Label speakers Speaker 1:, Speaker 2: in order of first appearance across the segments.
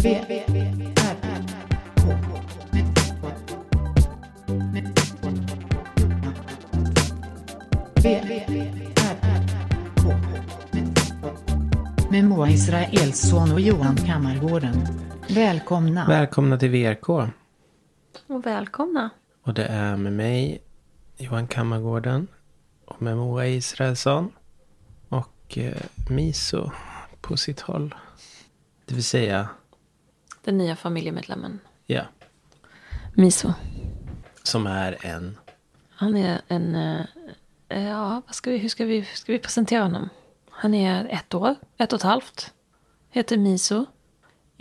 Speaker 1: V, R, K. V, R, K. Med Moa Israelsson och Johan Kammargården. Välkomna.
Speaker 2: Välkomna till VRK.
Speaker 3: Och välkomna.
Speaker 2: Och det är med mig, Johan Kammargården. Och med Moa Israelsson. Och eh, Miso på sitt håll. Det vill säga,
Speaker 3: Den nya familjemedlemmen
Speaker 2: ja.
Speaker 3: Miso.
Speaker 2: Som är en...
Speaker 3: Han är en... eh, eh, Ja, vad ska vi, hur ska vi, ska vi presentera honom? Han är ett år, ett och ett halvt. Heter Miso.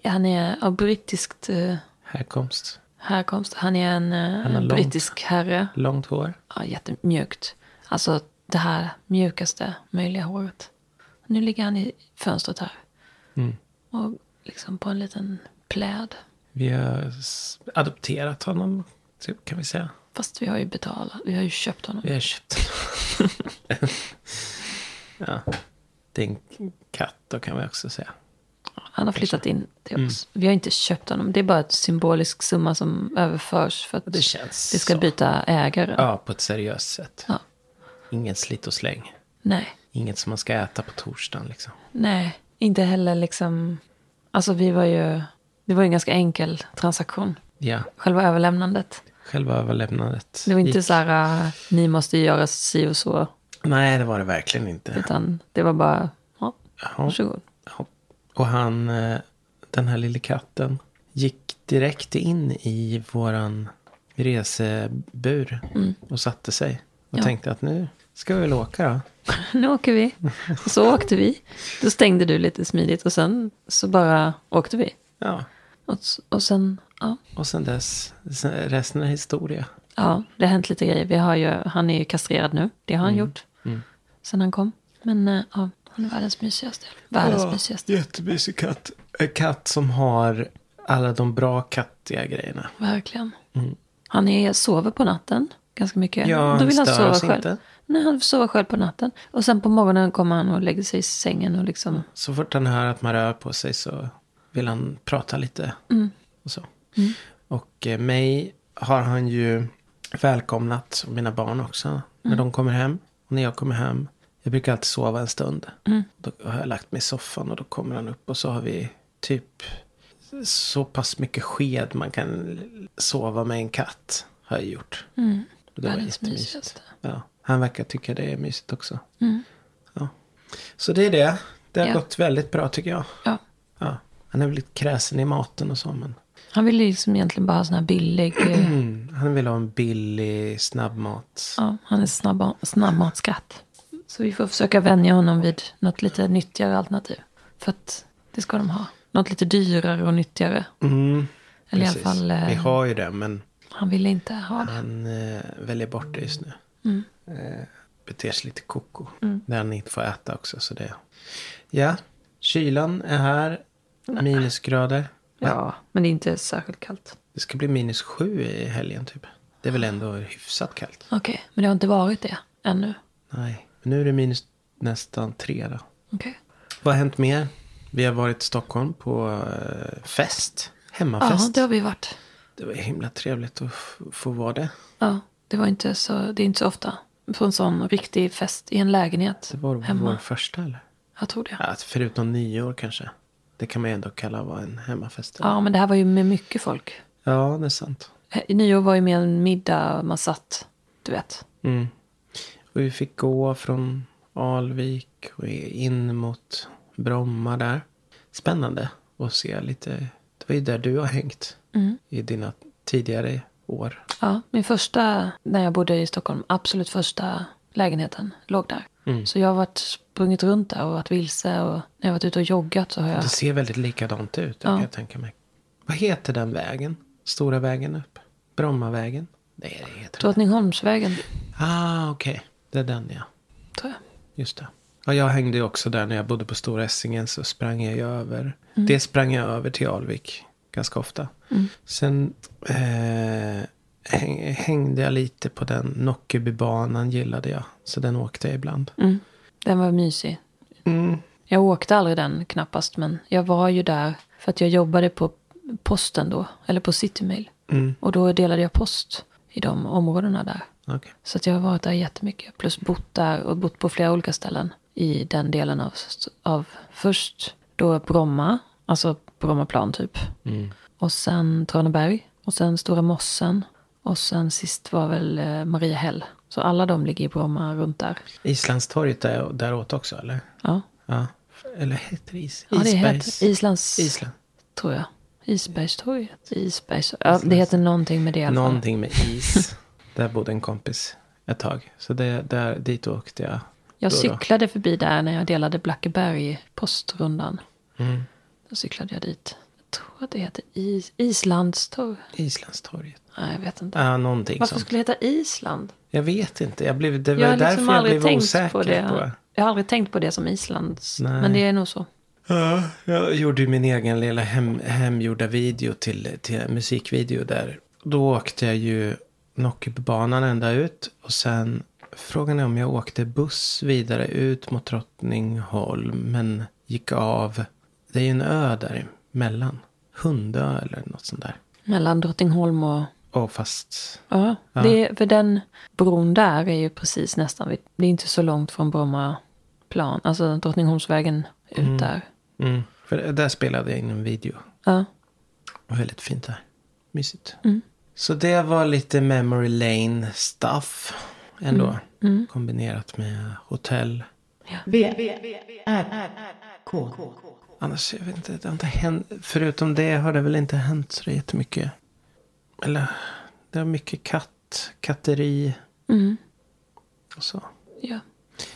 Speaker 3: Han är av brittiskt eh,
Speaker 2: Härkomst.
Speaker 3: härkomst. Han är en, eh,
Speaker 2: har långt-
Speaker 3: brittisk herre.
Speaker 2: Långt hår.
Speaker 3: Ja, jättemjukt. Alltså det här mjukaste möjliga håret. Nu ligger han i fönstret här.
Speaker 2: Mm.
Speaker 3: Och liksom på en liten pläd.
Speaker 2: Vi har s- adopterat honom, typ, kan vi säga.
Speaker 3: Fast vi har ju betalat. Vi har ju köpt honom.
Speaker 2: Vi har köpt honom. ja. Det är en katt, då kan vi också säga.
Speaker 3: Han har flyttat in
Speaker 2: Mm.
Speaker 3: till oss. Vi har inte köpt honom. Det är bara ett symbolisk summa som överförs för att
Speaker 2: Det känns
Speaker 3: vi ska
Speaker 2: så.
Speaker 3: byta ägare.
Speaker 2: Ja, på ett seriöst sätt.
Speaker 3: Ja.
Speaker 2: Ingen slit och släng.
Speaker 3: Nej,
Speaker 2: Inget som man ska äta på torsdagen liksom.
Speaker 3: nej, inte heller liksom... Alltså vi var ju... Det var ju en ganska enkel transaktion.
Speaker 2: Ja,
Speaker 3: Själva överlämnandet.
Speaker 2: själva överlämnandet.
Speaker 3: Det var inte
Speaker 2: gick-
Speaker 3: så här, äh, ni måste göra si och så.
Speaker 2: Nej, det var det verkligen inte.
Speaker 3: Utan det var bara, ja,
Speaker 2: Ja,
Speaker 3: varsågod.
Speaker 2: ja. Och han, eh, den här lille katten, gick direkt in i våran resebur och satte sig. Och
Speaker 3: Mm. Ja.
Speaker 2: tänkte att nu ska vi väl åka då.
Speaker 3: Nu åker vi. Och så åkte vi. Då stängde du lite smidigt och sen så bara åkte vi.
Speaker 2: Ja,
Speaker 3: Och, s- och sen, ja.
Speaker 2: och sen dess, sen- resten är historia.
Speaker 3: Ja, det har hänt lite grejer. Vi har ju, han är ju kastrerad nu. Det
Speaker 2: Mm.
Speaker 3: har han gjort. Sen han kom. Men eh, ja, han är världens mysigaste. Världens mysigaste.
Speaker 2: jättemysig katt. En katt som har alla de bra kattiga grejerna.
Speaker 3: Verkligen. Han är, sover på natten ganska mycket.
Speaker 2: Mm. Ja, han stör oss
Speaker 3: själv.
Speaker 2: inte.
Speaker 3: Nej, han sover själv på natten. Och sen på morgonen kommer han och lägger sig i sängen och liksom.
Speaker 2: Så fort han hör att man rör på sig så vill han prata lite. Och, så. och eh, mig har han ju välkomnat, och mina barn också, när de kommer hem. Och när jag kommer hem, jag brukar alltid sova en stund. Då har jag lagt mig i soffan och då kommer han upp och så har vi typ så pass mycket sked man kan sova med en katt. Har jag gjort. Och Det var
Speaker 3: Världens
Speaker 2: jättemysigt.
Speaker 3: mysigaste.
Speaker 2: Ja, han verkar tycka det är mysigt också. Ja. Så det är det. Det har
Speaker 3: Mm. Ja.
Speaker 2: gått väldigt bra tycker jag.
Speaker 3: Ja.
Speaker 2: Ja. Han är väl lite kräsen i maten och så, men
Speaker 3: Han ville ju liksom egentligen bara ha sån här billig. eh,
Speaker 2: mm, han vill ha en billig snabbmat.
Speaker 3: ja, han är snabb, snabbmatsskatt. Så vi får försöka vänja honom vid något lite nyttigare alternativ. För att det ska de ha. Något lite dyrare och nyttigare.
Speaker 2: Mm,
Speaker 3: Eller
Speaker 2: precis.
Speaker 3: i alla fall, eh,
Speaker 2: Vi har ju det, men
Speaker 3: han ville inte ha det.
Speaker 2: han eh, väljer bort det just nu.
Speaker 3: Mm.
Speaker 2: Eh, beter sig lite koko. Där han inte får äta också, så det... Ja, kylan är här. Minusgrader.
Speaker 3: Ja, men det är inte särskilt kallt.
Speaker 2: Det ska bli minus sju i helgen typ. Det är väl ändå hyfsat kallt.
Speaker 3: Okej, men det har inte varit det ännu.
Speaker 2: Nej, men nu är det minus nästan tre då.
Speaker 3: Okej.
Speaker 2: Vad har hänt mer? Vi har varit i Stockholm på eh, fest.
Speaker 3: Ja,
Speaker 2: Hemmafest.
Speaker 3: det
Speaker 2: det...
Speaker 3: har vi varit.
Speaker 2: var himla trevligt att f- få vara det.
Speaker 3: Ja, det var inte så, det är inte så ofta. På en sån riktig fest i en lägenhet
Speaker 2: Det var
Speaker 3: hemma.
Speaker 2: vår första eller?
Speaker 3: Jag tror det. Ja.
Speaker 2: Ja, förutom nyår kanske. Det kan man ju ändå kalla vara en hemmafest. eller?
Speaker 3: men det här var ju med mycket folk.
Speaker 2: ja det är sant.
Speaker 3: Eh, Nyår var ju med en middag, man satt, du vet.
Speaker 2: Mm. Och vi fick gå från Alvik och in mot Bromma där. Spännande att se lite. Det var ju där du har hängt
Speaker 3: Mm.
Speaker 2: i dina tidigare år.
Speaker 3: Ja, min första, när jag bodde i Stockholm, absolut första lägenheten låg där. Så jag har varit sprungit runt där och varit vilse och när jag har varit ute och joggat så har jag...
Speaker 2: Det ser väldigt likadant ut, det kan jag tänka mig. Vad heter den vägen? Stora vägen upp? Brommavägen? Nej, det heter den.
Speaker 3: Drottningholmsvägen,
Speaker 2: Ah, okej. Det är den, ja.
Speaker 3: tror jag.
Speaker 2: Just det. Ja, jag hängde ju också där när jag bodde på Stora Essingen så sprang jag ju över. Det sprang jag över till Alvik ganska ofta. Sen eh, häng, hängde jag lite på den Nockebybanan gillade jag. Så den åkte jag ibland.
Speaker 3: Den var mysig.
Speaker 2: Mm.
Speaker 3: Jag åkte aldrig den knappast, men jag var ju där För att jag jobbade på posten då, eller på Citymail.
Speaker 2: Mm.
Speaker 3: Och då delade jag post i de områdena där.
Speaker 2: Okej.
Speaker 3: Så att jag har varit där jättemycket. Plus bott där och bott på flera olika ställen i den delen av, av först då Bromma, alltså Brommaplan typ.
Speaker 2: Mm.
Speaker 3: Och sen Traneberg. Och sen Stora Mossen. Och sen sist var väl eh, Mariehäll. Så alla de ligger i Bromma runt där.
Speaker 2: Islandstorget där, däråt också eller?
Speaker 3: Ja,
Speaker 2: Ja. Eller heter det is?
Speaker 3: ja det
Speaker 2: Isbergs-
Speaker 3: heter Islands...
Speaker 2: Island.
Speaker 3: tror jag. Isbergstorget. Isbergs... Ja, det heter någonting med det i alla fall.
Speaker 2: Någonting med is. där bodde en kompis ett tag. Så det, där, dit åkte jag.
Speaker 3: Jag
Speaker 2: då då.
Speaker 3: cyklade förbi där när jag delade Blackeberg postrundan.
Speaker 2: Mm.
Speaker 3: Då cyklade jag dit. Jag tror att det heter Is- Islandstorg.
Speaker 2: Islandstorget.
Speaker 3: Nej, jag vet inte.
Speaker 2: Ja, någonting
Speaker 3: Varför
Speaker 2: sånt.
Speaker 3: skulle det heta Island?
Speaker 2: Jag vet inte. Jag blev, det var
Speaker 3: Jag har
Speaker 2: därför
Speaker 3: liksom
Speaker 2: jag
Speaker 3: aldrig
Speaker 2: blev
Speaker 3: tänkt
Speaker 2: osäker
Speaker 3: på
Speaker 2: på
Speaker 3: det. Jag har aldrig tänkt på det som Islands.
Speaker 2: Nej.
Speaker 3: Men det är nog så.
Speaker 2: Ja, jag gjorde ju min egen lilla hem, hemgjorda video till, till musikvideo där. Då åkte jag ju Nockebybanan ända ut. Och sen frågan är om jag åkte buss vidare ut mot Drottningholm. Men gick av. Det är ju en ö däremellan. Hundö eller något sånt där.
Speaker 3: Mellan Drottningholm och...
Speaker 2: Och fast...
Speaker 3: Ja,
Speaker 2: Ja.
Speaker 3: Det, är- för den bron där är ju precis nästan vid... Det är inte så långt från Bromma plan. Alltså Drottningholmsvägen ut där.
Speaker 2: Mm. För där spelade jag in en video.
Speaker 3: Ja.
Speaker 2: Och väldigt fint där. Mysigt.
Speaker 3: Mm.
Speaker 2: Så det var lite memory lane stuff ändå.
Speaker 3: Mm.
Speaker 2: Kombinerat med hotell.
Speaker 1: V, R, R, K.
Speaker 2: Annars, jag vet inte, det har inte hänt. Förutom det har det väl inte hänt så jättemycket. Eller, det var mycket katt, katteri
Speaker 3: Mm.
Speaker 2: och så.
Speaker 3: ja.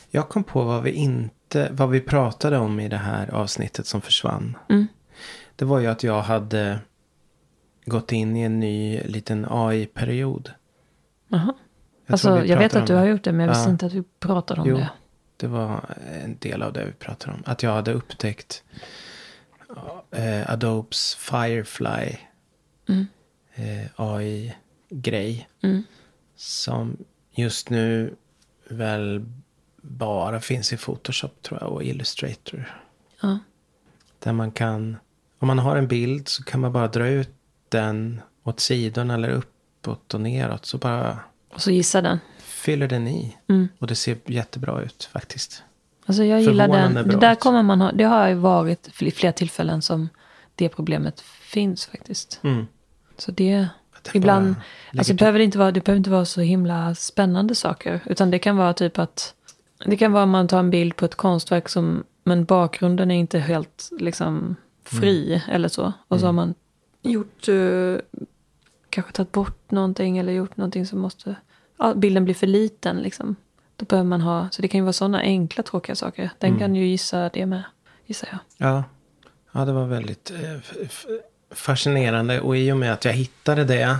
Speaker 2: Jag kom på vad vi inte, vad vi pratade om i det här avsnittet som försvann.
Speaker 3: Mm.
Speaker 2: Det var ju att jag hade gått in i en ny liten AI-period.
Speaker 3: Jaha.
Speaker 2: Jag
Speaker 3: alltså,
Speaker 2: tror vi
Speaker 3: jag vet
Speaker 2: pratar
Speaker 3: att
Speaker 2: om
Speaker 3: du
Speaker 2: det.
Speaker 3: har gjort det, men jag visste
Speaker 2: Ja.
Speaker 3: inte att vi pratade om
Speaker 2: Jo,
Speaker 3: det.
Speaker 2: det var en del av det vi pratade om. Att jag hade upptäckt eh, Adobes Firefly eh, AI-grej.
Speaker 3: Mm.
Speaker 2: Som just nu väl bara finns i Photoshop tror jag och Illustrator.
Speaker 3: Ja.
Speaker 2: Där man kan, om man har en bild så kan man bara dra ut den åt sidorna eller uppåt och neråt. Så bara
Speaker 3: Och så gissa den.
Speaker 2: fyller den i.
Speaker 3: Mm.
Speaker 2: Och det ser jättebra ut faktiskt.
Speaker 3: Alltså jag gillar den.
Speaker 2: Förvånande
Speaker 3: Det
Speaker 2: bra
Speaker 3: där
Speaker 2: alltså.
Speaker 3: kommer man ha. Det har ju varit fl- flera tillfällen som det problemet finns faktiskt.
Speaker 2: Mm.
Speaker 3: Så det,
Speaker 2: Att jag
Speaker 3: ibland,
Speaker 2: bara lägger
Speaker 3: alltså
Speaker 2: till.
Speaker 3: det behöver det inte vara, det behöver inte vara så himla spännande saker. Utan det kan vara typ att, det kan vara om man tar en bild på ett konstverk som, men bakgrunden är inte helt liksom fri eller så. Och så har man gjort, eh, kanske tagit bort någonting eller gjort någonting som måste, ja, bilden blir för liten liksom. Då behöver man ha, så det kan ju vara sådana enkla tråkiga saker. Den kan ju gissa det med, gissar jag.
Speaker 2: Ja. ja, det var väldigt eh, f- f- fascinerande. Och i och med att jag hittade det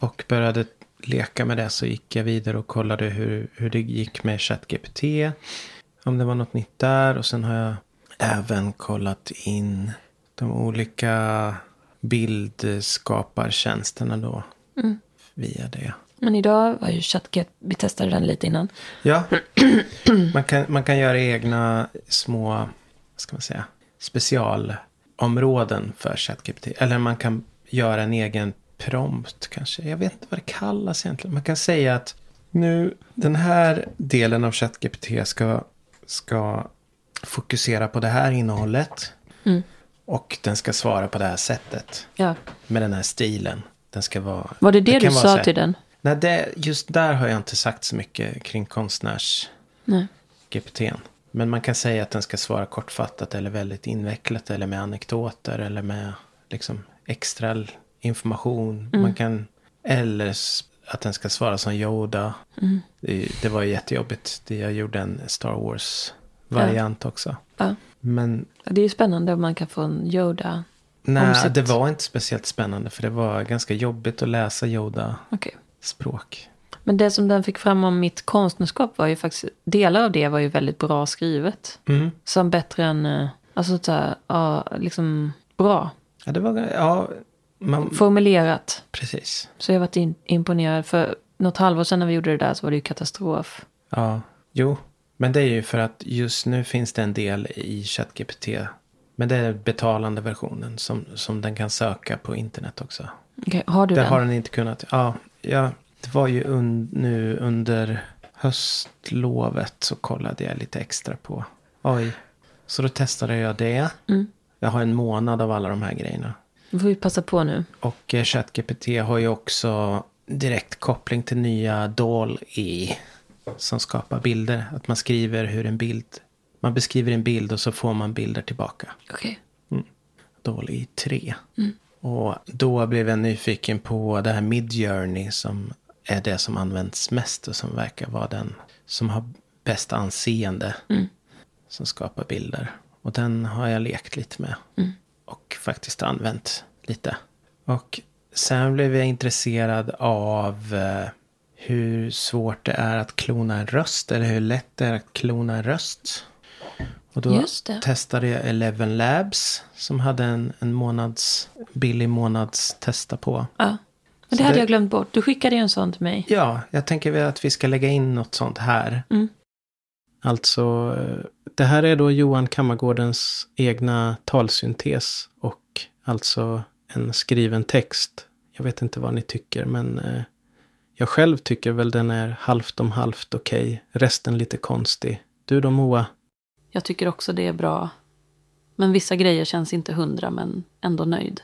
Speaker 2: och började leka med det så gick jag vidare och kollade hur, hur det gick med ChatGPT. Om det var något nytt där. Och sen har jag även kollat in de olika bildskapartjänsterna då.
Speaker 3: Mm.
Speaker 2: Via det.
Speaker 3: Men idag var ju ChatGPT, vi testade den lite innan.
Speaker 2: Ja, man kan, man kan göra egna små, vad ska man säga, specialområden för ChatGPT. Eller man kan göra en egen prompt kanske. Jag vet inte vad det kallas egentligen. Man kan säga att nu, den här delen av ChatGPT ska, ska fokusera på det här innehållet.
Speaker 3: Mm.
Speaker 2: Och den ska svara på det här sättet.
Speaker 3: Ja.
Speaker 2: Med den här stilen. Den ska vara...
Speaker 3: Var det det
Speaker 2: kan
Speaker 3: du
Speaker 2: vara så
Speaker 3: sa
Speaker 2: här-
Speaker 3: till den?
Speaker 2: Nej, det, just där har jag inte sagt så mycket kring konstnärs...
Speaker 3: Nej.
Speaker 2: GPTn. Men man kan säga att den ska svara kortfattat eller väldigt invecklat eller med anekdoter eller med liksom extra l- information. Man kan, eller s- att den ska svara som Yoda. Det, det var ju jättejobbigt. Det- Jag gjorde en Star Wars-variant också.
Speaker 3: Ja.
Speaker 2: Men
Speaker 3: Ja, Det är ju spännande om man kan få en Yoda.
Speaker 2: nej,
Speaker 3: Omsatt.
Speaker 2: det var inte speciellt spännande för det var ganska jobbigt att läsa Yoda-språk.
Speaker 3: Okej. Men det som den fick fram om mitt konstnärskap var ju faktiskt, delar av det var ju väldigt bra skrivet.
Speaker 2: Mm.
Speaker 3: Som bättre än, eh, alltså så här, ja, liksom bra
Speaker 2: Ja, det var, ja, man,
Speaker 3: formulerat.
Speaker 2: precis.
Speaker 3: Så jag varit in, imponerad. För något halvår sedan när vi gjorde det där så var det ju katastrof.
Speaker 2: Ja, jo. Men det är ju för att just nu finns det en del i ChatGPT Men det är betalande versionen som, som den kan söka på internet också.
Speaker 3: Okej, har du
Speaker 2: Där
Speaker 3: den?
Speaker 2: har den inte kunnat. Ja, ja det var ju un, nu under höstlovet så kollade jag lite extra på. Oj, så då testade jag det. Jag har en månad av alla de här grejerna.
Speaker 3: Då får vi passa på nu.
Speaker 2: Och eh, ChatGPT har ju också direkt koppling till nya DALL-E som skapar bilder. Att man skriver hur en bild, man beskriver en bild och så får man bilder tillbaka.
Speaker 3: Okej.
Speaker 2: DALL-E 3. Och då blev jag nyfiken på det här Midjourney som är det som används mest och som verkar vara den som har bäst anseende. Som skapar bilder. Och den har jag lekt lite med.
Speaker 3: Mm.
Speaker 2: Och faktiskt använt lite. Och sen blev jag intresserad av eh, hur svårt det är att klona en röst. Eller hur lätt det är att klona en röst. Och då
Speaker 3: Just det.
Speaker 2: testade jag Eleven Labs. Som hade en, en månads, billig månads testa på.
Speaker 3: Ja. Men
Speaker 2: Så
Speaker 3: det hade
Speaker 2: det-
Speaker 3: jag glömt bort. Du skickade ju en sån till mig.
Speaker 2: Ja, jag tänker väl att vi ska lägga in något sånt här.
Speaker 3: Mm.
Speaker 2: Alltså, eh, det här är då Johan Kammargårdens egna talsyntes och alltså en skriven text. Jag vet inte vad ni tycker, men eh, jag själv tycker väl den är halvt om halvt okej, resten lite konstig. Du då Moa?
Speaker 3: Jag tycker också det är bra. Men vissa grejer känns inte hundra, men ändå nöjd.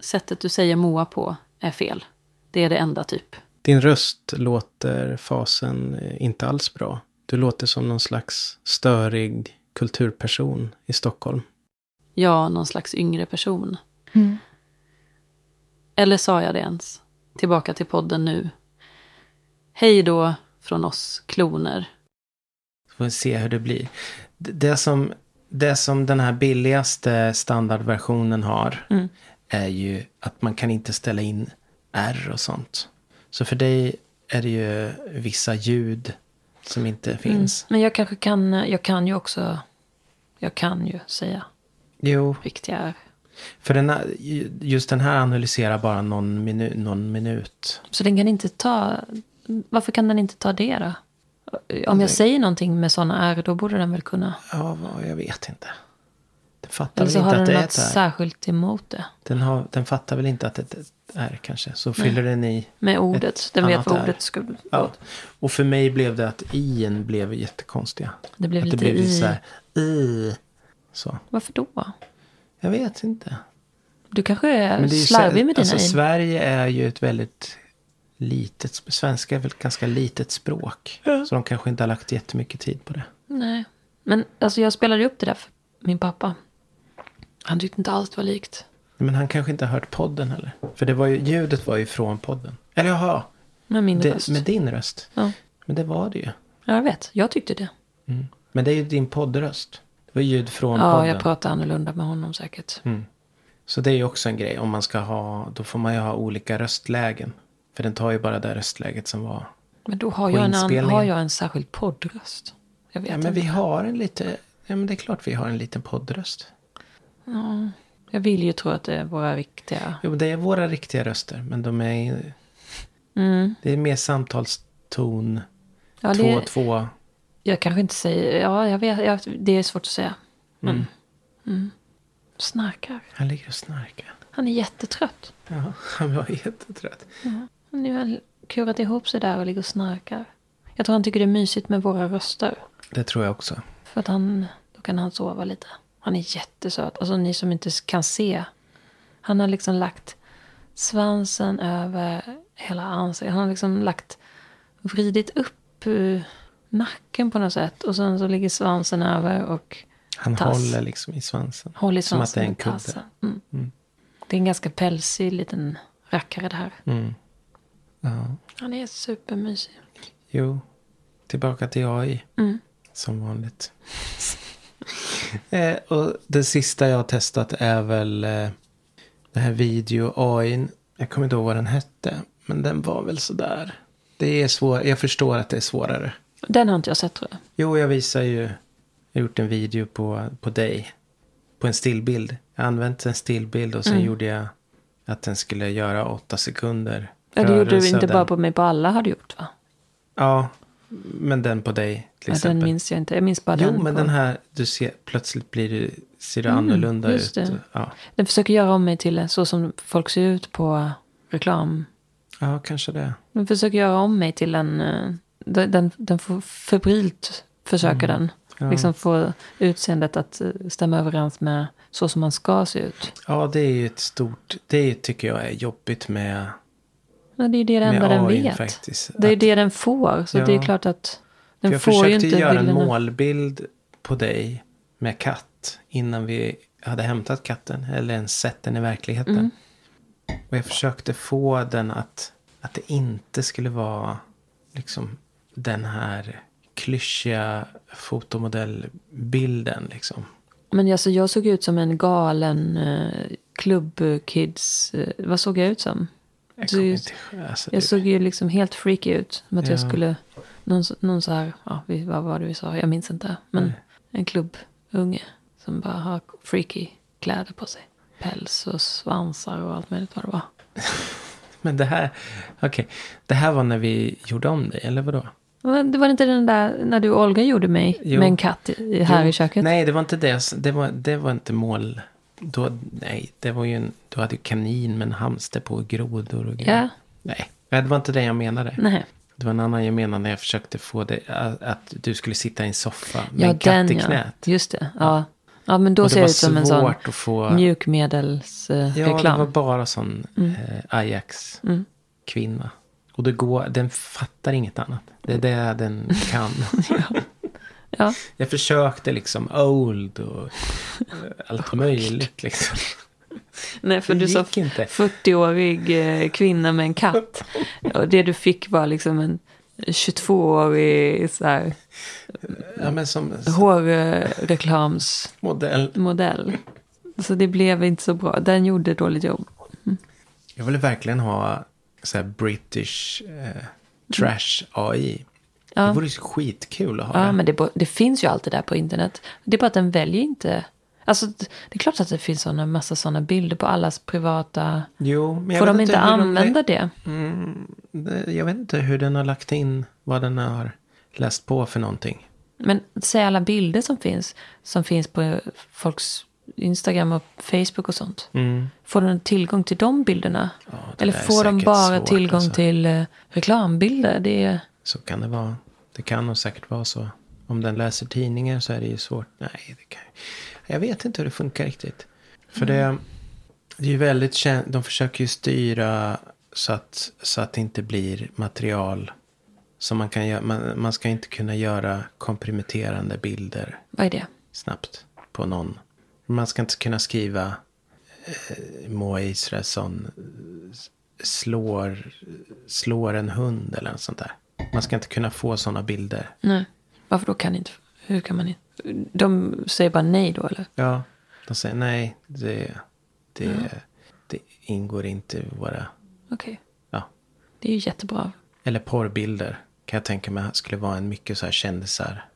Speaker 3: Sättet du säger Moa på är fel. Det är det enda typ.
Speaker 2: Din röst låter fasen eh, inte alls bra. Du låter som någon slags störig kulturperson i Stockholm.
Speaker 3: Ja, någon slags yngre person.
Speaker 1: Mm.
Speaker 3: Eller sa jag det ens? Tillbaka till podden nu. Hej då från oss kloner.
Speaker 2: Får vi se hur det blir. D- Det som, det som den här billigaste standardversionen har
Speaker 3: Mm.
Speaker 2: är ju att man kan inte ställa in R och sånt. Så för dig är det ju vissa ljud som
Speaker 3: Mm.
Speaker 2: inte finns.
Speaker 3: Men jag kanske kan, jag kan ju också, jag kan ju säga
Speaker 2: Jo,
Speaker 3: riktiga R.
Speaker 2: för den här, ju- just den här analyserar bara någon, minu, någon minut.
Speaker 3: Så den kan inte ta, varför kan den inte ta det då? Om jag säger någonting med sådana R, då borde den väl kunna.
Speaker 2: Ja, vad- jag vet inte. Den fattar
Speaker 3: Eller så
Speaker 2: väl
Speaker 3: har
Speaker 2: inte att det
Speaker 3: den
Speaker 2: är
Speaker 3: något
Speaker 2: ett R.
Speaker 3: särskilt emot det.
Speaker 2: Den, har, den fattar väl inte att det är ett R kanske. Så fyller den i.
Speaker 3: Med ordet, den
Speaker 2: annat
Speaker 3: vet vad
Speaker 2: R.
Speaker 3: ordet skulle...
Speaker 2: Ja. Och för mig blev det att i-en blev jättekonstiga.
Speaker 3: Det blev
Speaker 2: att
Speaker 3: lite
Speaker 2: det blev
Speaker 3: i.
Speaker 2: så här i. Så.
Speaker 3: Varför då?
Speaker 2: Jag vet inte.
Speaker 3: Du kanske är,
Speaker 2: det är ju
Speaker 3: slarvig med
Speaker 2: så-
Speaker 3: dina
Speaker 2: alltså,
Speaker 3: i.
Speaker 2: Sverige är ju ett väldigt litet, svenska är väl ett ganska litet språk. Så de kanske inte har lagt jättemycket tid på det.
Speaker 3: Nej. Men alltså jag spelade ju upp det där för min pappa. Han tyckte inte alls det var likt.
Speaker 2: Men han kanske inte har hört podden heller. För det var ju, ljudet var ju från podden. Eller jaha,
Speaker 3: Med min
Speaker 2: det,
Speaker 3: röst.
Speaker 2: med din röst.
Speaker 3: Ja.
Speaker 2: Men det var det ju. Mm.
Speaker 3: ja, jag vet. Jag tyckte det.
Speaker 2: Men det är ju din poddröst. Det var ljud från
Speaker 3: Ja,
Speaker 2: podden.
Speaker 3: jag pratade annorlunda med honom säkert.
Speaker 2: Så det är ju också en grej. Om man ska ha, då får man ju ha olika röstlägen. För den tar ju bara det röstläget som var.
Speaker 3: Men då har
Speaker 2: På
Speaker 3: jag, en an-
Speaker 2: inspelningen.
Speaker 3: har jag en särskild poddröst. Jag vet
Speaker 2: Ja, men
Speaker 3: inte.
Speaker 2: vi har en lite, ja men det är klart vi har en liten poddröst.
Speaker 3: Jag vill ju tro att det är våra riktiga...
Speaker 2: Jo, men det är våra riktiga röster, men de är,
Speaker 3: Mm.
Speaker 2: det är mer samtalston,
Speaker 3: Ja, det,
Speaker 2: 2-2. två.
Speaker 3: Jag kanske inte säger... Ja, jag vet. Jag, det är svårt att säga. Men, mm. Snarkar.
Speaker 2: Han ligger och snarkar.
Speaker 3: Han är jättetrött.
Speaker 2: Ja, han var jättetrött.
Speaker 3: Nu har han kurat ihop sig där och ligger och snarkar. Jag tror han tycker det är mysigt med våra röster.
Speaker 2: Det tror jag också.
Speaker 3: För att han, då kan han sova lite. Han är jättesöt. Alltså ni som inte kan se. Han har liksom lagt svansen över hela ansiktet. Han har liksom lagt, vridit upp eh, nacken på något sätt. Och sen så ligger svansen över och
Speaker 2: Han
Speaker 3: Tass.
Speaker 2: håller liksom i svansen.
Speaker 3: håller i
Speaker 2: Som
Speaker 3: svansen
Speaker 2: att det är en
Speaker 3: med
Speaker 2: kudde.
Speaker 3: tassen. Mm. Det är en ganska pälsig liten rackare det här.
Speaker 2: Mm. Ja,
Speaker 3: Han är supermysig.
Speaker 2: jo. Tillbaka till AI.
Speaker 3: Mm.
Speaker 2: Som vanligt. eh, och det sista jag har testat är väl eh, det här video AI. Jag kommer inte ihåg vad den hette. Men den var väl sådär. Det är svår, jag förstår att det är svårare.
Speaker 3: Den har inte jag sett tror jag.
Speaker 2: Jo, jag visar ju. Jag har gjort en video på, på dig. På en stillbild. Jag använde en stillbild och sen
Speaker 3: Mm.
Speaker 2: gjorde jag att den skulle göra åtta sekunder.
Speaker 3: Ja, det gjorde
Speaker 2: rörelse
Speaker 3: du
Speaker 2: av
Speaker 3: inte
Speaker 2: den.
Speaker 3: bara på mig, på alla har du gjort va?
Speaker 2: Ja, Men den på dig till
Speaker 3: Ja,
Speaker 2: exempel.
Speaker 3: den minns jag inte. Jag minns bara
Speaker 2: jo,
Speaker 3: den.
Speaker 2: men
Speaker 3: på-
Speaker 2: den här, du ser, plötsligt blir du, ser du annorlunda
Speaker 3: Mm, just
Speaker 2: ut.
Speaker 3: det.
Speaker 2: Ja.
Speaker 3: Den försöker göra om mig till en- så som folk ser ut på reklam.
Speaker 2: ja, kanske det.
Speaker 3: Den försöker göra om mig till en... eh, Den, den, den får febrilt försöker den.
Speaker 2: Mm. Ja.
Speaker 3: Liksom få utseendet att eh, stämma överens med så som man ska se ut.
Speaker 2: Ja, det är ju ett stort, det tycker jag är jobbigt med,
Speaker 3: Men det är ju det enda
Speaker 2: med
Speaker 3: den
Speaker 2: AI
Speaker 3: vet.
Speaker 2: faktiskt.
Speaker 3: Det är ju
Speaker 2: Att-
Speaker 3: det den får. Så
Speaker 2: Ja.
Speaker 3: det är klart att
Speaker 2: för
Speaker 3: den
Speaker 2: jag
Speaker 3: får ju
Speaker 2: försökte
Speaker 3: inte
Speaker 2: göra en
Speaker 3: bilderna.
Speaker 2: målbild på dig med katt innan vi hade hämtat katten. Eller ens sett den i verkligheten.
Speaker 3: Mm.
Speaker 2: Och jag försökte få den att, att det inte skulle vara liksom den här klyschiga fotomodellbilden liksom.
Speaker 3: Men alltså, jag såg ut som en galen eh, klubbkids... Eh, vad såg jag ut som?
Speaker 2: Jag
Speaker 3: Så
Speaker 2: kommer
Speaker 3: just-
Speaker 2: inte, alltså,
Speaker 3: Jag
Speaker 2: det-
Speaker 3: såg ju liksom helt freaky ut. Som att jag
Speaker 2: Ja.
Speaker 3: skulle... Någon, så- någon så här... Ja, vi, vad var det vi sa? Jag minns inte. Men en klubbunge som bara har freaky kläder på sig. Päls och svansar och allt möjligt vad det var.
Speaker 2: Men det här, okej. Det här var när vi gjorde om dig, eller vadå?
Speaker 3: Men Det var inte den där när du och Olga gjorde mig
Speaker 2: Jo.
Speaker 3: med en katt i, här
Speaker 2: Jo,
Speaker 3: i köket?
Speaker 2: Nej, det var inte det. jag s- Det var, det var inte mål. Då, nej, det var ju en, du hade ju kanin med en hamster på och grodor och grejer.
Speaker 3: Ja.
Speaker 2: Nej, det var inte det jag menade.
Speaker 3: Nej.
Speaker 2: Det var en annan jag menade när jag försökte få det att, att du skulle sitta i en soffa med
Speaker 3: Ja,
Speaker 2: en katt i
Speaker 3: ja.
Speaker 2: knät.
Speaker 3: Just det. Ja. Ja, men då
Speaker 2: Och det
Speaker 3: ser jag
Speaker 2: var
Speaker 3: ut som en sån eh,
Speaker 2: svårt att få... Ja,
Speaker 3: mjukmedelsreklam.
Speaker 2: det var bara sån
Speaker 3: Mm.
Speaker 2: eh, Ajax-kvinna. Och det går, den fattar inget annat. Det är det den kan.
Speaker 3: Ja.
Speaker 2: Jag försökte liksom old och eh, allt möjligt liksom.
Speaker 3: Nej, för
Speaker 2: Det
Speaker 3: du sa
Speaker 2: gick inte.
Speaker 3: 40-årig eh, kvinna med en katt. Och det du fick var liksom en 22-årig så här,
Speaker 2: Ja, men som
Speaker 3: hårreklamsmodell.
Speaker 2: modell.
Speaker 3: Så det blev inte så bra. Den gjorde dåligt jobb.
Speaker 2: Jag ville verkligen ha så här British eh, trash AI. Det vore ju skitkul att ha
Speaker 3: Ja,
Speaker 2: det.
Speaker 3: men det, bo- det finns ju allt det där på internet. Det är bara att den väljer inte. Alltså, det är klart att det finns såna, massa sådana bilder på allas privata...
Speaker 2: Jo, men jag
Speaker 3: Får
Speaker 2: vet
Speaker 3: de inte
Speaker 2: hur
Speaker 3: använda det?
Speaker 2: det- Jag vet inte hur den har lagt in vad den har läst på för någonting.
Speaker 3: Men se alla bilder som finns. Som finns på folks Instagram och Facebook och sånt. Får de tillgång till de bilderna?
Speaker 2: Mm. det
Speaker 3: Eller
Speaker 2: där är
Speaker 3: får de
Speaker 2: säkert
Speaker 3: bara
Speaker 2: svårt,
Speaker 3: tillgång
Speaker 2: alltså.
Speaker 3: till eh, reklambilder? Det är...
Speaker 2: Så kan det vara. Det kan nog säkert vara så. Om den läser tidningar så är det ju svårt. Nej, det kan Jag vet inte hur det funkar riktigt. För det, det är ju väldigt känt. De försöker ju styra så att, så att det inte blir material. Som man kan göra. Man, man ska inte kunna göra komprimerande bilder
Speaker 3: Vad är det?
Speaker 2: snabbt på någon. Man ska inte kunna skriva eh, Moa Israelsson eh, slår, slår en hund eller något sånt där. Man ska inte kunna få sådana bilder.
Speaker 3: Nej. Varför då kan inte... Hur kan man inte... De säger bara nej då eller?
Speaker 2: Ja, de säger nej, det, det, det ingår inte i våra...
Speaker 3: Okej.
Speaker 2: Ja.
Speaker 3: Det är ju jättebra.
Speaker 2: Eller porrbilder kan jag tänka mig skulle vara en mycket så här kändisar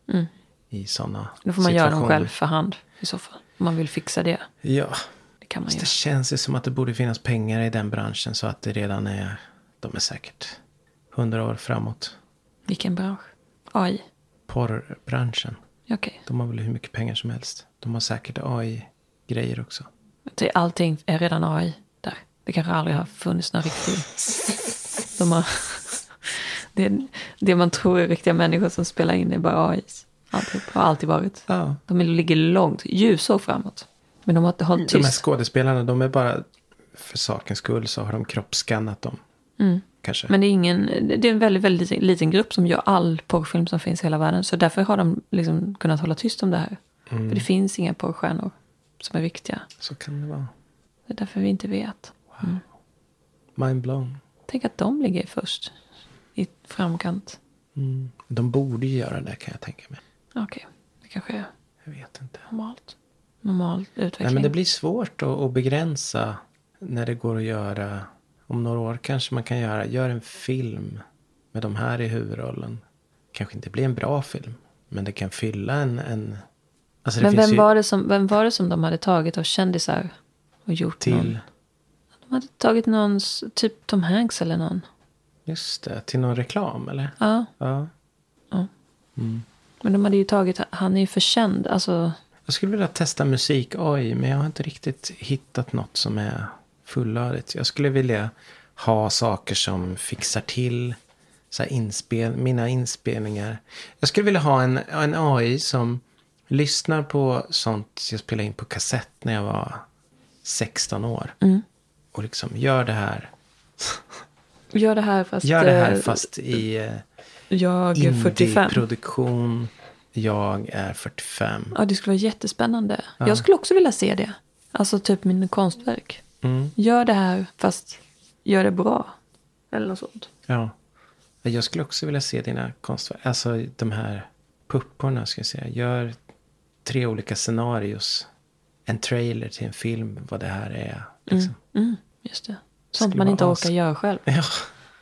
Speaker 2: i sådana
Speaker 3: Mm. Då får man göra dem
Speaker 2: situationer.
Speaker 3: själv för hand i så fall. Om man vill fixa det.
Speaker 2: Ja,
Speaker 3: Det kan man
Speaker 2: Fast
Speaker 3: göra.
Speaker 2: det känns ju som att det borde finnas pengar i den branschen så att det redan är, de är säkert hundra år framåt.
Speaker 3: Vilken bransch? AI?
Speaker 2: Porrbranschen,
Speaker 3: Okej.
Speaker 2: de har väl hur mycket pengar som helst. De har säkert AI-grejer också.
Speaker 3: Det- Allting är redan AI där. Det kanske aldrig har funnits någon riktig... De har, det, det man tror är riktiga människor som spelar in är bara AI. Alltid, har alltid varit.
Speaker 2: Ja.
Speaker 3: De ligger långt, ljusår framåt. Men de har inte hållit
Speaker 2: De här
Speaker 3: tyst.
Speaker 2: skådespelarna, de är bara, för sakens skull så har de kroppsskannat dem. Kanske.
Speaker 3: Mm. Men det är, ingen, det är en väldigt, väldigt liten grupp som gör all porrfilm som finns i hela världen. Så därför har de liksom kunnat hålla tyst om det här. För det finns inga porrstjärnor som är riktiga.
Speaker 2: Så kan det vara.
Speaker 3: Det är därför vi inte vet.
Speaker 2: Mind blown.
Speaker 3: Tänk att de ligger först. I framkant.
Speaker 2: Mm. De borde ju göra det kan jag tänka mig.
Speaker 3: Okej, det kanske är
Speaker 2: Jag vet inte.
Speaker 3: normalt. Normal utveckling.
Speaker 2: Nej, men det blir svårt att, att begränsa när det går att göra. Om några år kanske man kan göra, gör en film med de här i huvudrollen. Kanske inte blir en bra film, men det kan fylla en... en alltså det
Speaker 3: men
Speaker 2: finns
Speaker 3: vem
Speaker 2: ju
Speaker 3: var, det som, vem var det som de hade tagit av kändisar och gjort någon?
Speaker 2: till,
Speaker 3: De hade tagit någons, typ Tom Hanks eller någon.
Speaker 2: just det, till någon reklam eller?
Speaker 3: Ja,
Speaker 2: Ja.
Speaker 3: Men de hade ju tagit, han är ju för känd. Alltså,
Speaker 2: Jag skulle vilja testa musik AI, men jag har inte riktigt hittat något som är fullödigt. Jag skulle vilja ha saker som fixar till så här inspel, mina inspelningar. Jag skulle vilja ha en, en AI som lyssnar på sånt jag spelade in på kassett när jag var 16 år. Och liksom gör det här.
Speaker 3: gör det här fast,
Speaker 2: Gör det här
Speaker 3: eh,
Speaker 2: fast i eh,
Speaker 3: jag är 45.
Speaker 2: indie-produktion. Jag är 45.
Speaker 3: Ja, det skulle vara jättespännande. Jag skulle också vilja se det. Alltså typ min konstverk.
Speaker 2: Mm.
Speaker 3: Gör det här fast gör det bra. Eller något sånt.
Speaker 2: Ja. Jag skulle också vilja se dina konstverk. Alltså de här pupporna ska jag säga. Gör tre olika scenarios. En trailer till en film, vad det här är. Liksom.
Speaker 3: Mm, just det. Sånt
Speaker 2: Skulle
Speaker 3: man
Speaker 2: vara
Speaker 3: inte orkar
Speaker 2: as-
Speaker 3: göra själv.
Speaker 2: Ja,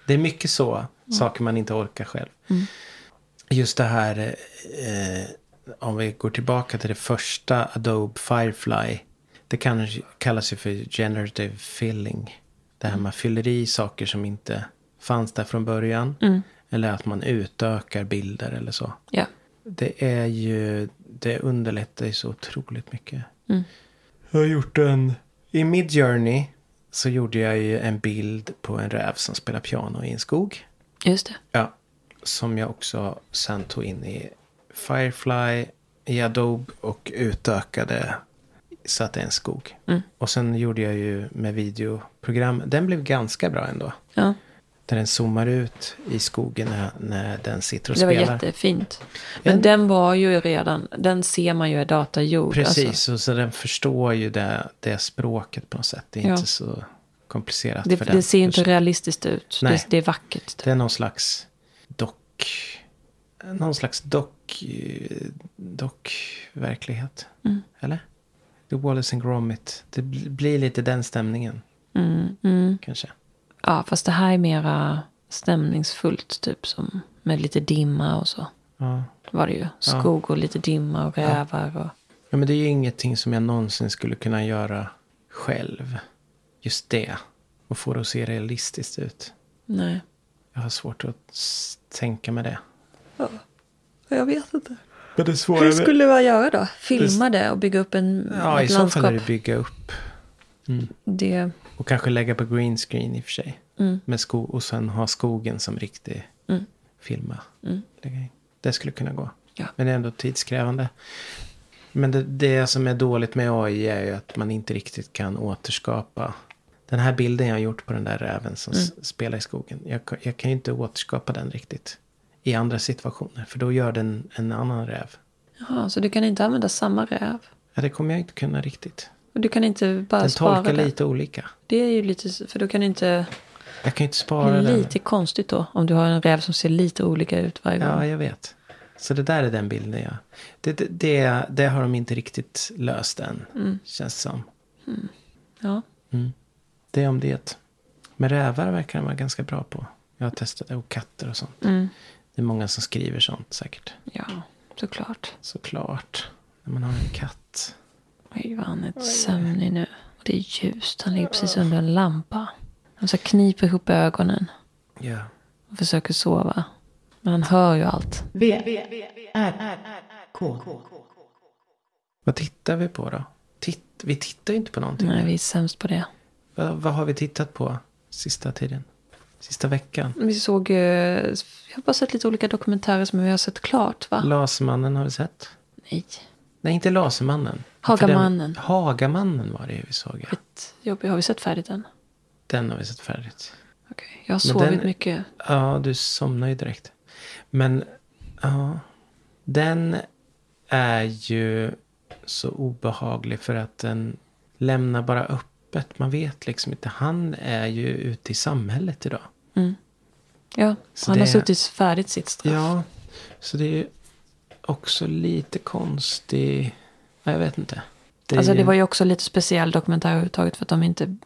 Speaker 2: det är mycket så. Saker man inte orkar själv. Just det här, eh, om vi går tillbaka till det första Adobe Firefly. Det kan, kallas ju för generative filling. Det här man fyller i saker som inte fanns där från början. Eller att man utökar bilder eller så.
Speaker 3: Mm, Ja.
Speaker 2: Det är ju, det underlättar ju så otroligt mycket. Jag har gjort en... I Midjourney så gjorde jag ju en bild på en räv som spelar piano i en skog.
Speaker 3: Just det.
Speaker 2: Ja. Som jag också sen tog in i Firefly, i Adobe och utökade så att det är en skog. Och sen gjorde jag ju med videoprogram. Den blev ganska bra ändå.
Speaker 3: Ja.
Speaker 2: Där den zoomar ut i skogen när, när den sitter och
Speaker 3: Det var
Speaker 2: spelar.
Speaker 3: jättefint. Men
Speaker 2: Ja.
Speaker 3: den var ju redan, den ser man ju är datagjord.
Speaker 2: Precis,
Speaker 3: Alltså,
Speaker 2: och så den förstår ju det, det språket på något sätt. Det är
Speaker 3: Ja.
Speaker 2: inte så komplicerat
Speaker 3: det,
Speaker 2: för den.
Speaker 3: det ser inte realistiskt ut.
Speaker 2: Nej.
Speaker 3: Det, det är vackert. typ.
Speaker 2: Det är någon slags dock... Någon slags dock... eh, Dock-verklighet.
Speaker 3: Mm.
Speaker 2: Eller? The Wallace and Gromit. Det bl- blir lite den stämningen. Kanske.
Speaker 3: Mm, Ja, fast det här är mera stämningsfullt. Typ som med lite dimma och så.
Speaker 2: Ja.
Speaker 3: Var det ju. Skog och lite dimma och rävar. Och,
Speaker 2: ja, men det är ju ingenting som jag någonsin skulle kunna göra själv. Just det. Och få det att se realistiskt ut.
Speaker 3: nej.
Speaker 2: Jag har svårt att s- tänka mig det.
Speaker 3: Jag vet inte.
Speaker 2: Men det svåra
Speaker 3: Hur skulle man göra då? Filma det och bygga upp en,
Speaker 2: Ja, i
Speaker 3: ett
Speaker 2: så fall är
Speaker 3: landskap?
Speaker 2: det bygga upp.
Speaker 3: Det,
Speaker 2: Och kanske lägga på green screen i och för sig.
Speaker 3: Mm.
Speaker 2: Med sko- och sen ha skogen som riktig filma. Lägga in. Det skulle kunna gå.
Speaker 3: Mm. Ja.
Speaker 2: Men det är ändå tidskrävande. Men det, det som är dåligt med AI är ju att man inte riktigt kan återskapa. Den här bilden jag har gjort på den där räven som s-
Speaker 3: Mm.
Speaker 2: spelar i skogen. Jag, ka- jag kan ju inte återskapa den riktigt. I andra situationer. För då gör den en annan räv.
Speaker 3: jaha, så du kan inte använda samma räv?
Speaker 2: Ja, det kommer jag inte kunna riktigt.
Speaker 3: Och du kan inte bara
Speaker 2: Den
Speaker 3: spara
Speaker 2: tolkar
Speaker 3: den?
Speaker 2: lite olika.
Speaker 3: Det är ju lite, s- för då kan du inte...
Speaker 2: Jag kan ju inte
Speaker 3: Det
Speaker 2: spara
Speaker 3: är
Speaker 2: den.
Speaker 3: lite konstigt då, om du har en räv som ser lite olika ut varje gång.
Speaker 2: Ja, jag vet. Så det där är den bilden jag... Det, det, det, det har de inte riktigt löst än,
Speaker 3: Mm.
Speaker 2: känns det som.
Speaker 3: Ja.
Speaker 2: Det är om det. Men rävar verkar de vara ganska bra på. Jag har testat det, och katter och sånt. Det är många som skriver sånt säkert.
Speaker 3: Mm. ja, såklart.
Speaker 2: Såklart. När man har en katt.
Speaker 3: Oj, vad han är sömnig nu. Och det är ljust, han ligger precis under en lampa. Han så här kniper ihop ögonen
Speaker 2: Ja.
Speaker 3: och försöker sova. Men han hör ju allt.
Speaker 1: V, R, R, K.
Speaker 2: Vad tittar vi på då? Titt, vi tittar ju inte på någonting.
Speaker 3: Nej, vi är sämst på det.
Speaker 2: Vad, vad har vi tittat på sista tiden? Sista veckan?
Speaker 3: Vi såg, eh, jag har bara sett lite olika dokumentärer som vi har sett klart
Speaker 2: Mm.
Speaker 3: va?
Speaker 2: Lasermannen har vi sett.
Speaker 3: Nej,
Speaker 2: Nej, inte Lasermannen.
Speaker 3: Hagamannen.
Speaker 2: För Den, Hagamannen var det ju vi såg. Ja.
Speaker 3: skitjobbig. Har vi sett färdigt den?
Speaker 2: Den har vi sett färdigt.
Speaker 3: Okej, jag har sovit
Speaker 2: den-
Speaker 3: mycket.
Speaker 2: Ja, du somnar ju direkt. Men, ja. Den är ju så obehaglig för att den lämnar bara öppet. Man vet liksom inte. Han är ju ute i samhället idag.
Speaker 3: Ja,
Speaker 2: Så
Speaker 3: han har
Speaker 2: det-
Speaker 3: suttit färdigt sitt straff.
Speaker 2: Ja, så det är ju också lite konstig... Ja, jag vet inte. är
Speaker 3: Alltså
Speaker 2: ju-
Speaker 3: det var ju också lite speciell dokumentär överhuvudtaget för att de inte...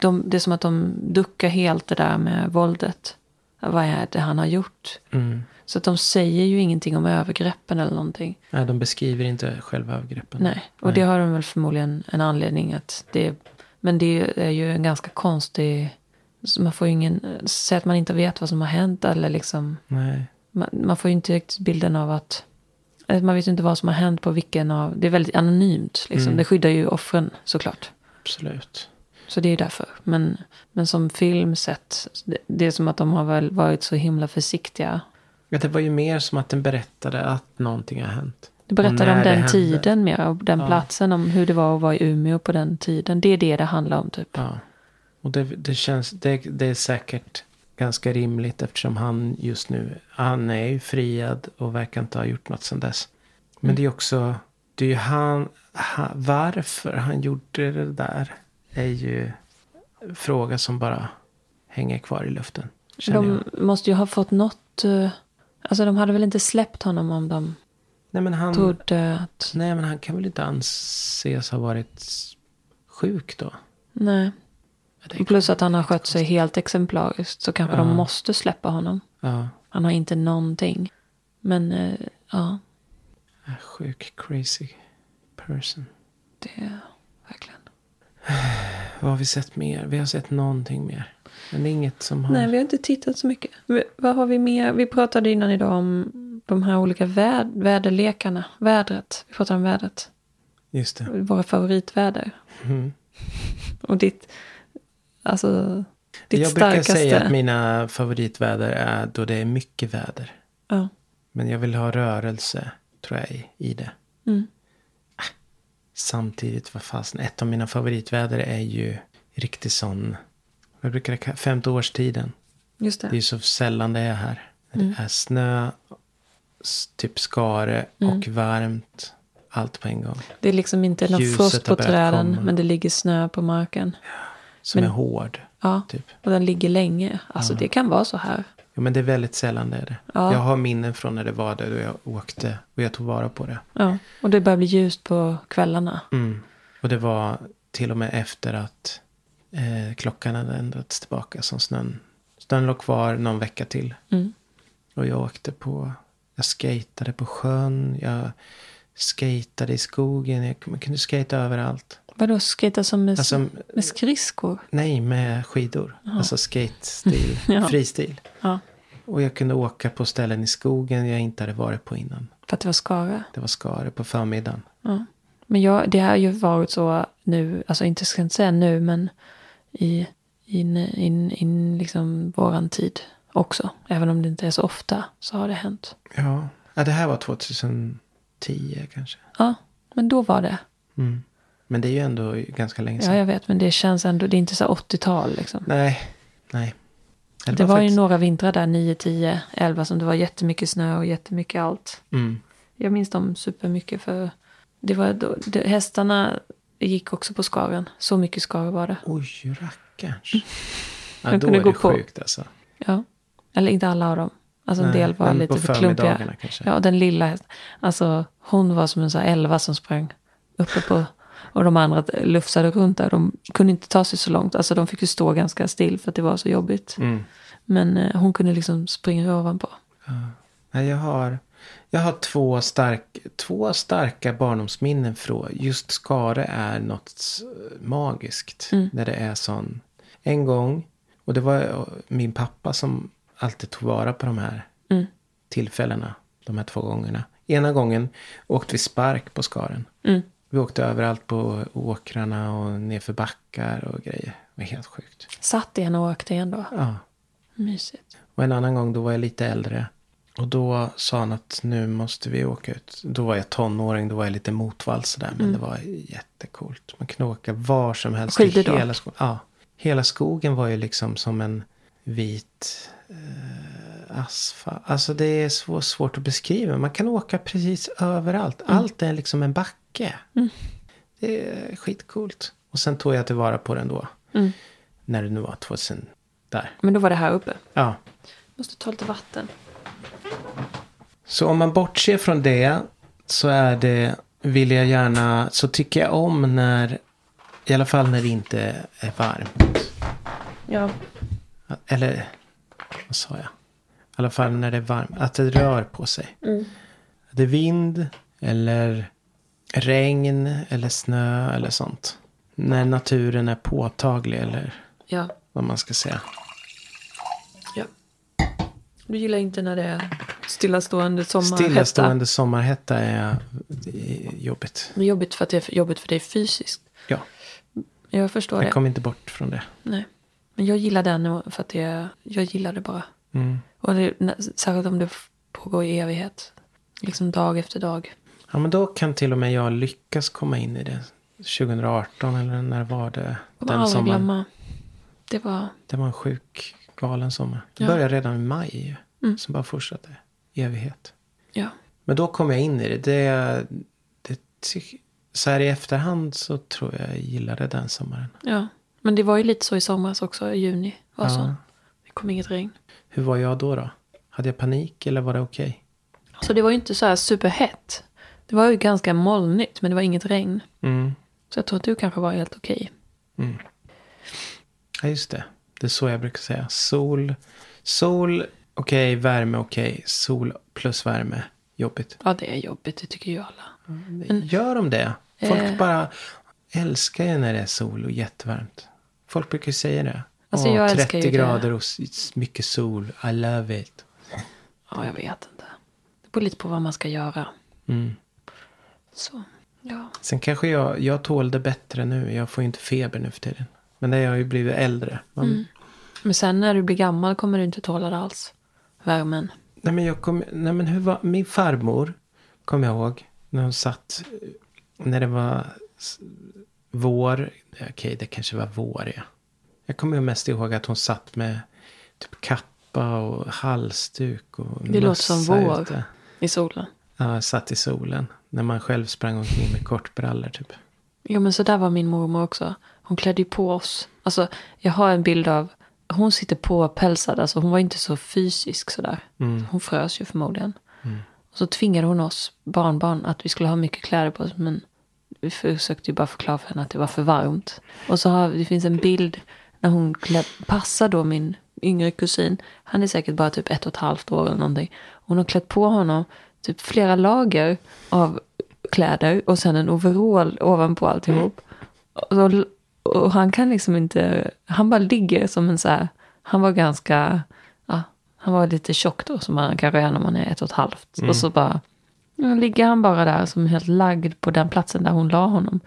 Speaker 3: De, det är som att de duckar helt det där med våldet. Vad är det han har gjort?
Speaker 2: Mm.
Speaker 3: Så att de säger ju ingenting om övergreppen eller någonting.
Speaker 2: Nej, de beskriver inte själva övergreppen.
Speaker 3: Nej, och det har de väl förmodligen en anledning att det... Men det är ju en ganska konstig... så Man får ju ingen... Säg att man inte vet vad som har hänt eller liksom...
Speaker 2: Nej.
Speaker 3: man, man får ju inte riktigt bilden av att... eh, Man vet ju inte vad som har hänt på vilken av... Det är väldigt anonymt. Liksom. Det skyddar ju offren såklart.
Speaker 2: Absolut.
Speaker 3: Så det är ju därför. Men, men som film sett, det, det är som att de har väl varit så himla försiktiga.
Speaker 2: Ja, det var ju mer som att den berättade att någonting har hänt.
Speaker 3: Du berättade
Speaker 2: Och
Speaker 3: om
Speaker 2: när det
Speaker 3: den
Speaker 2: hände.
Speaker 3: tiden mer, och den
Speaker 2: Ja.
Speaker 3: platsen, om hur det var att vara i Umeå på den tiden. Det är det det handlar om typ.
Speaker 2: Ja. Och det, det känns, det, det är säkert ganska rimligt eftersom han just nu, han är ju friad och verkar inte ha gjort något sedan dess. Men det är också, det är ju han, han, varför han gjorde det där är ju en fråga som bara hänger kvar i luften. Känner jag.
Speaker 3: De måste ju ha fått något... eh, Alltså de hade väl inte släppt honom om
Speaker 2: Mm.
Speaker 3: de
Speaker 2: Nej men, han,
Speaker 3: trodde att...
Speaker 2: nej men han kan väl inte anses ha varit sjuk då?
Speaker 3: Nej.
Speaker 2: Det är-
Speaker 3: Plus att han har skött sig helt exemplariskt. Så kanske de måste släppa honom.
Speaker 2: Ja,
Speaker 3: Han har inte någonting. Men eh, ja,
Speaker 2: sjuk, crazy person.
Speaker 3: det är verkligen.
Speaker 2: Vad har vi sett mer? Vi har sett någonting mer. Men det är inget som har...
Speaker 3: Nej, vi har inte tittat så mycket. Vi- Vad har vi mer? Vi pratade innan idag om de här olika väd väderlekarna. Vädret. Vi pratade om vädret.
Speaker 2: Just det.
Speaker 3: Våra favoritväder.
Speaker 2: Mm.
Speaker 3: Och ditt, alltså, ditt
Speaker 2: jag brukar
Speaker 3: starkaste.
Speaker 2: säga att mina favoritväder är då det är mycket väder.
Speaker 3: ja.
Speaker 2: Men jag vill ha rörelse, tror jag, i- i det.
Speaker 3: Mm.
Speaker 2: Ah, Samtidigt, vad fasen, ett av mina favoritväder är ju riktigt sån, vad brukar det kalla, femte årstiden.
Speaker 3: Just
Speaker 2: Det är
Speaker 3: det.
Speaker 2: ju så sällan det är här. När
Speaker 3: Mm.
Speaker 2: Det är snö, s- typ skare och
Speaker 3: Mm.
Speaker 2: varmt. Allt på en gång.
Speaker 3: Det är liksom inte någon
Speaker 2: Ljuset
Speaker 3: frost på
Speaker 2: har börjat
Speaker 3: träden,
Speaker 2: komma.
Speaker 3: men det ligger snö på marken.
Speaker 2: Som
Speaker 3: Men-
Speaker 2: är hård,
Speaker 3: Ja,
Speaker 2: typ.
Speaker 3: och den ligger länge. Alltså det kan vara så här.
Speaker 2: Ja, men det är väldigt sällan det är det.
Speaker 3: Ja.
Speaker 2: Jag har minnen från när det var det och jag åkte och jag tog vara på det.
Speaker 3: Ja, och det börjar bli ljust på kvällarna.
Speaker 2: Mm. Och det var till och med efter att eh, klockan hade ändrats tillbaka som snön. Snön låg kvar någon vecka till.
Speaker 3: Mm.
Speaker 2: Och jag åkte på, jag skatade på sjön, jag skatade i skogen, jag man kunde skata överallt.
Speaker 3: Vadå skejta som med,
Speaker 2: Alltså,
Speaker 3: med skridskor?
Speaker 2: nej, med skidor. Alltså skate-stil,
Speaker 3: Ja.
Speaker 2: fristil.
Speaker 3: Ja,
Speaker 2: Och jag kunde åka på ställen i skogen jag inte hade varit på innan.
Speaker 3: för att det var skara.
Speaker 2: Det var Skare på förmiddagen.
Speaker 3: Ja. Men jag, det har ju varit så nu, alltså inte ska jag inte säga nu, men i, in, in, in liksom våran tid också. Även om det inte är så ofta så har det hänt.
Speaker 2: Ja. ja, det här var 2010 kanske.
Speaker 3: Ja, men då var det.
Speaker 2: Mm. Men det är ju ändå ganska länge sedan.
Speaker 3: Ja, jag vet, men det känns ändå, det är inte så 80-tal liksom.
Speaker 2: Nej, nej. Ja,
Speaker 3: Det, var,
Speaker 2: faktiskt-
Speaker 3: ju några vintrar där, 9, 10, 11, som det var jättemycket snö och jättemycket allt.
Speaker 2: Mm.
Speaker 3: Jag minns dem supermycket för det var då, det, hästarna gick också på skaren. Så mycket skare var det.
Speaker 2: Oj, rackarns. Ja,
Speaker 3: De
Speaker 2: då
Speaker 3: kunde
Speaker 2: är
Speaker 3: gå
Speaker 2: det
Speaker 3: på.
Speaker 2: sjukt alltså.
Speaker 3: Ja. Eller inte alla av dem. Alltså en
Speaker 2: Nej,
Speaker 3: del var
Speaker 2: men
Speaker 3: lite
Speaker 2: på
Speaker 3: för klumpiga.
Speaker 2: förmiddagarna kanske.
Speaker 3: Ja, den lilla hästen. Alltså hon var som en sån här elva som sprang uppe på. Och de andra lufsade runt där. De kunde inte ta sig så långt. Alltså de fick ju stå ganska still för att det var så jobbigt.
Speaker 2: Mm.
Speaker 3: Men eh, hon kunde liksom springa ovanpå.
Speaker 2: Nej, jag har, jag har två, stark, två starka barndomsminnen från just Skare är något s- magiskt. När det är sån. En gång, och det var eh, min pappa som alltid tog vara på de här tillfällena. De här två gångerna. Ena gången åkte vi spark på Skaren.
Speaker 3: Mm.
Speaker 2: Vi åkte överallt på åkrarna och nerför backar och grejer. Det var helt sjukt.
Speaker 3: Satt igen och åkte igen då.
Speaker 2: Ja.
Speaker 3: Mysigt.
Speaker 2: Och en annan gång då var jag lite äldre. Och då sa han att nu måste vi åka ut. Då var jag tonåring, då var jag lite motvalls sådär. Men
Speaker 3: Mm.
Speaker 2: det var jättecoolt. Man kunde åka var som helst. i
Speaker 3: Skidor då?
Speaker 2: Hela, sko- ja. hela skogen var ju liksom som en vit eh, asfalt. Alltså det är så svårt att beskriva. Man kan åka precis överallt.
Speaker 3: Mm.
Speaker 2: Allt är liksom en backe. Det är skitcoolt. Och sen tog jag tillvara på den då.
Speaker 3: Mm.
Speaker 2: När det nu var 2000. Där.
Speaker 3: Men då var det här uppe.
Speaker 2: Ja.
Speaker 3: Måste ta lite vatten.
Speaker 2: Så om man bortser från det så är det, vill jag gärna, så tycker jag om när, i alla fall när det inte är varmt.
Speaker 3: Ja.
Speaker 2: Eller, vad sa jag? I alla fall när det är varmt, att det rör på sig.
Speaker 3: Mm.
Speaker 2: Att Det är vind eller regn eller snö eller sånt. När naturen är påtaglig eller
Speaker 3: Ja.
Speaker 2: vad man ska säga.
Speaker 3: ja. Du gillar inte när det är Stillastående sommarhetta.
Speaker 2: Stillastående sommarhetta är, det är jobbigt.
Speaker 3: Det är jobbigt för att det är för- jobbigt för dig fysiskt.
Speaker 2: Ja,
Speaker 3: Jag förstår
Speaker 2: jag
Speaker 3: det.
Speaker 2: kom inte bort från det.
Speaker 3: Nej. Men jag gillar den för att det, jag gillar det bara.
Speaker 2: Mm.
Speaker 3: Och det, när- särskilt om det f- pågår i evighet. Liksom dag efter dag.
Speaker 2: Ja, men då kan till och med jag lyckas komma in i det. 2018 eller när var det?
Speaker 3: Kommer
Speaker 2: Den
Speaker 3: aldrig
Speaker 2: sommaren.
Speaker 3: glömma. Det var...
Speaker 2: Det var en sjuk, galen sommar. Det
Speaker 3: Ja.
Speaker 2: började redan i maj.
Speaker 3: Mm.
Speaker 2: Som bara fortsatte i evighet.
Speaker 3: Ja.
Speaker 2: Men då kom jag in i det. det, det ty- så här i efterhand så tror jag jag gillade den sommaren.
Speaker 3: ja. Men det var ju lite så i somras också. I juni var
Speaker 2: Ja.
Speaker 3: så. Det kom inget regn.
Speaker 2: Hur var jag då då? Hade jag panik eller var det okej?
Speaker 3: Så det var ju inte så här superhett. Det var ju ganska molnigt men det var inget regn.
Speaker 2: Mm.
Speaker 3: Så jag tror att du kanske var helt okej.
Speaker 2: Ja, just det. Det är så jag brukar säga. Sol, sol, okej, värme, okej. Sol plus värme, jobbigt.
Speaker 3: Ja det är jobbigt, det tycker ju alla.
Speaker 2: Gör de det? Folk
Speaker 3: Eh.
Speaker 2: bara älskar ju när det är sol och jättevarmt. Folk brukar ju säga det.
Speaker 3: Alltså,
Speaker 2: Åh,
Speaker 3: jag älskar
Speaker 2: 30
Speaker 3: ju det.
Speaker 2: grader och s- mycket sol. I love it.
Speaker 3: Ja jag vet inte. Det beror lite på vad man ska göra.
Speaker 2: Mm.
Speaker 3: Så, ja.
Speaker 2: Sen kanske jag, jag tål det bättre nu. Jag får ju inte feber nu för tiden. Men det har jag ju blivit äldre. Man,
Speaker 3: Mm. Men sen när du blir gammal kommer du inte tåla det alls. Värmen.
Speaker 2: Nej men, jag kom, nej men hur var, min farmor kom jag ihåg. När hon satt, när det var s- vår. Okej, det kanske var vår ja. Jag kommer ju mest ihåg att hon satt med typ kappa och halsduk och
Speaker 3: Det låter som
Speaker 2: mössa
Speaker 3: vår.
Speaker 2: ute.
Speaker 3: I solen.
Speaker 2: Ja, satt i solen. När man själv sprang omkring med kortbrallor typ.
Speaker 3: Jo men så där var min mormor också. Hon klädde ju på oss. Alltså jag har en bild av. Hon sitter påpälsad. Alltså hon var inte så fysisk sådär. Hon frös ju förmodligen. Och så tvingade hon oss barnbarn att vi skulle ha mycket kläder på oss. Men vi försökte ju bara förklara för henne att det var för varmt. Och så har, det finns en bild när hon klä, passar då min yngre kusin. Han är säkert bara typ ett och ett halvt år eller någonting. Hon har klätt på honom typ flera lager av kläder och sen en overall ovanpå alltihop. Och, så- och han kan liksom inte, han bara ligger som en så här, han var ganska, ja, han var lite tjock då som man kanske är när man är ett och ett halvt. Och så bara, nu ligger han bara där som helt lagd på den platsen där hon la honom.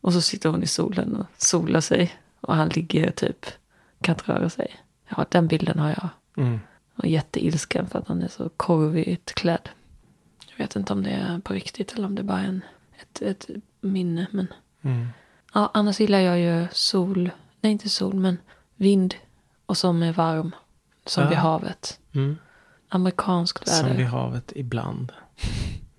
Speaker 3: Och så sitter hon i solen och solar sig. Och han ligger typ, kan inte röra sig. Ja, den bilden har jag.
Speaker 2: Mm.
Speaker 3: Och jätteilsken för att han är så korvigt klädd. Jag vet inte om det är på riktigt eller om det bara är en, ett, ett minne. Men...
Speaker 2: Mm.
Speaker 3: Ja, annars gillar jag ju sol, nej inte sol men vind. Och som är varm. Som
Speaker 2: Ja.
Speaker 3: vid havet.
Speaker 2: Mm.
Speaker 3: Amerikanskt
Speaker 2: Som
Speaker 3: väder.
Speaker 2: vid havet ibland.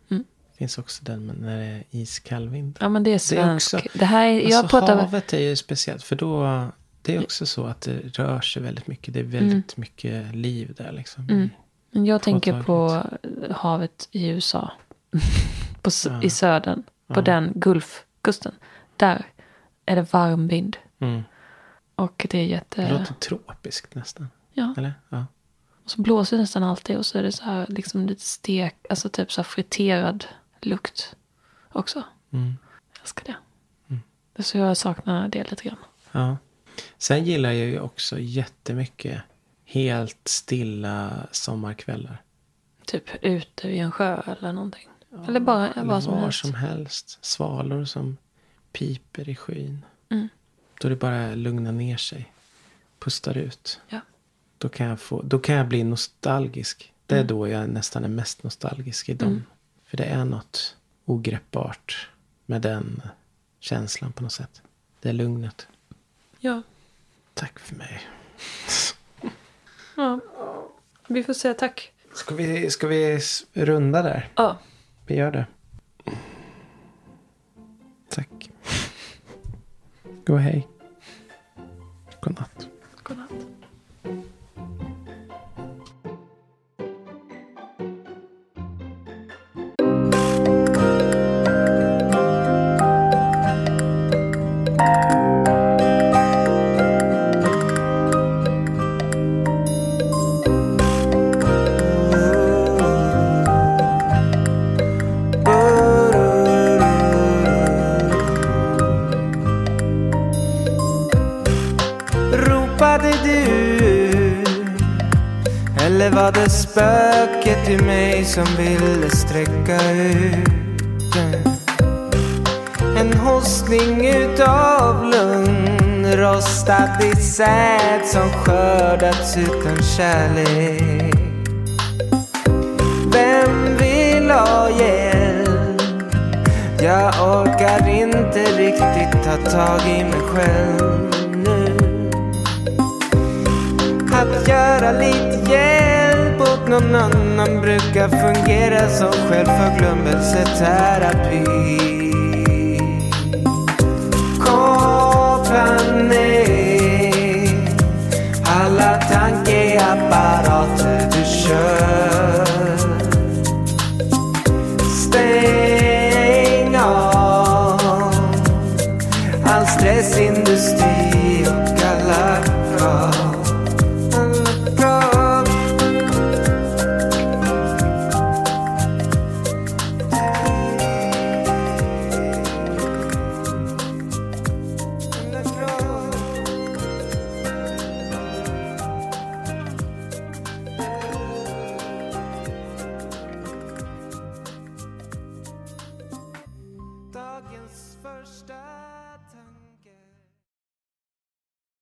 Speaker 3: Mm.
Speaker 2: Finns också den men när det är iskall vind.
Speaker 3: Ja men det är
Speaker 2: Det är
Speaker 3: svensk. Det,
Speaker 2: också-
Speaker 3: här är, jag
Speaker 2: alltså,
Speaker 3: pratar...
Speaker 2: havet är ju speciellt för då det är också så att det rör sig väldigt mycket. Det är väldigt mycket liv där liksom.
Speaker 3: Mm. Men jag tänker på
Speaker 2: Påtagligt.
Speaker 3: havet i USA. på, s-
Speaker 2: Ja.
Speaker 3: I södern. På
Speaker 2: Ja.
Speaker 3: den Gulfkusten. Där är det varm vind.
Speaker 2: Mm.
Speaker 3: Och det är
Speaker 2: Det
Speaker 3: jätte...
Speaker 2: låter tropiskt nästan.
Speaker 3: Ja.
Speaker 2: Eller? Ja.
Speaker 3: Och så blåser det nästan alltid och så är det så här liksom lite stek, alltså typ så här friterad lukt också.
Speaker 2: Mm.
Speaker 3: Jag älskar det. det är Så jag saknar det lite grann.
Speaker 2: ja. Sen gillar jag ju också jättemycket helt stilla sommarkvällar.
Speaker 3: Typ ute vid en sjö eller någonting. eller bara
Speaker 2: Eller
Speaker 3: vad som
Speaker 2: var
Speaker 3: helst.
Speaker 2: som helst. Svalor som piper i skyn.
Speaker 3: Mm.
Speaker 2: Då är det bara att lugna ner sig. Pustar ut.
Speaker 3: Ja.
Speaker 2: Då kan jag, få, då kan jag bli nostalgisk. Det är
Speaker 3: Mm.
Speaker 2: då jag nästan är mest nostalgisk i dem. För det är något ogreppbart med den känslan på något sätt. Det är lugnet.
Speaker 3: ja.
Speaker 2: Tack för mig.
Speaker 3: ja. Vi får säga tack.
Speaker 2: Ska vi, ska vi s- runda där?
Speaker 3: Ja.
Speaker 2: Vi gör det. Tack. Gå och hej. Godnatt.
Speaker 3: Godnatt.
Speaker 4: ropade du Eller var det spöket i mig som ville sträcka ut den? En hostning utav lugn Rostad i säd som skördats utan kärlek Vem vill ha hjälp? Jag orkar inte riktigt ta tag i mig själv nu Att göra lite hjälp åt någon annan brukar fungera som självförglömmelseterapi Koppla ner alla tankeapparater du kör. Stäng av all stressindustri och alla prat. Alla prat. Alla prat. Dagens första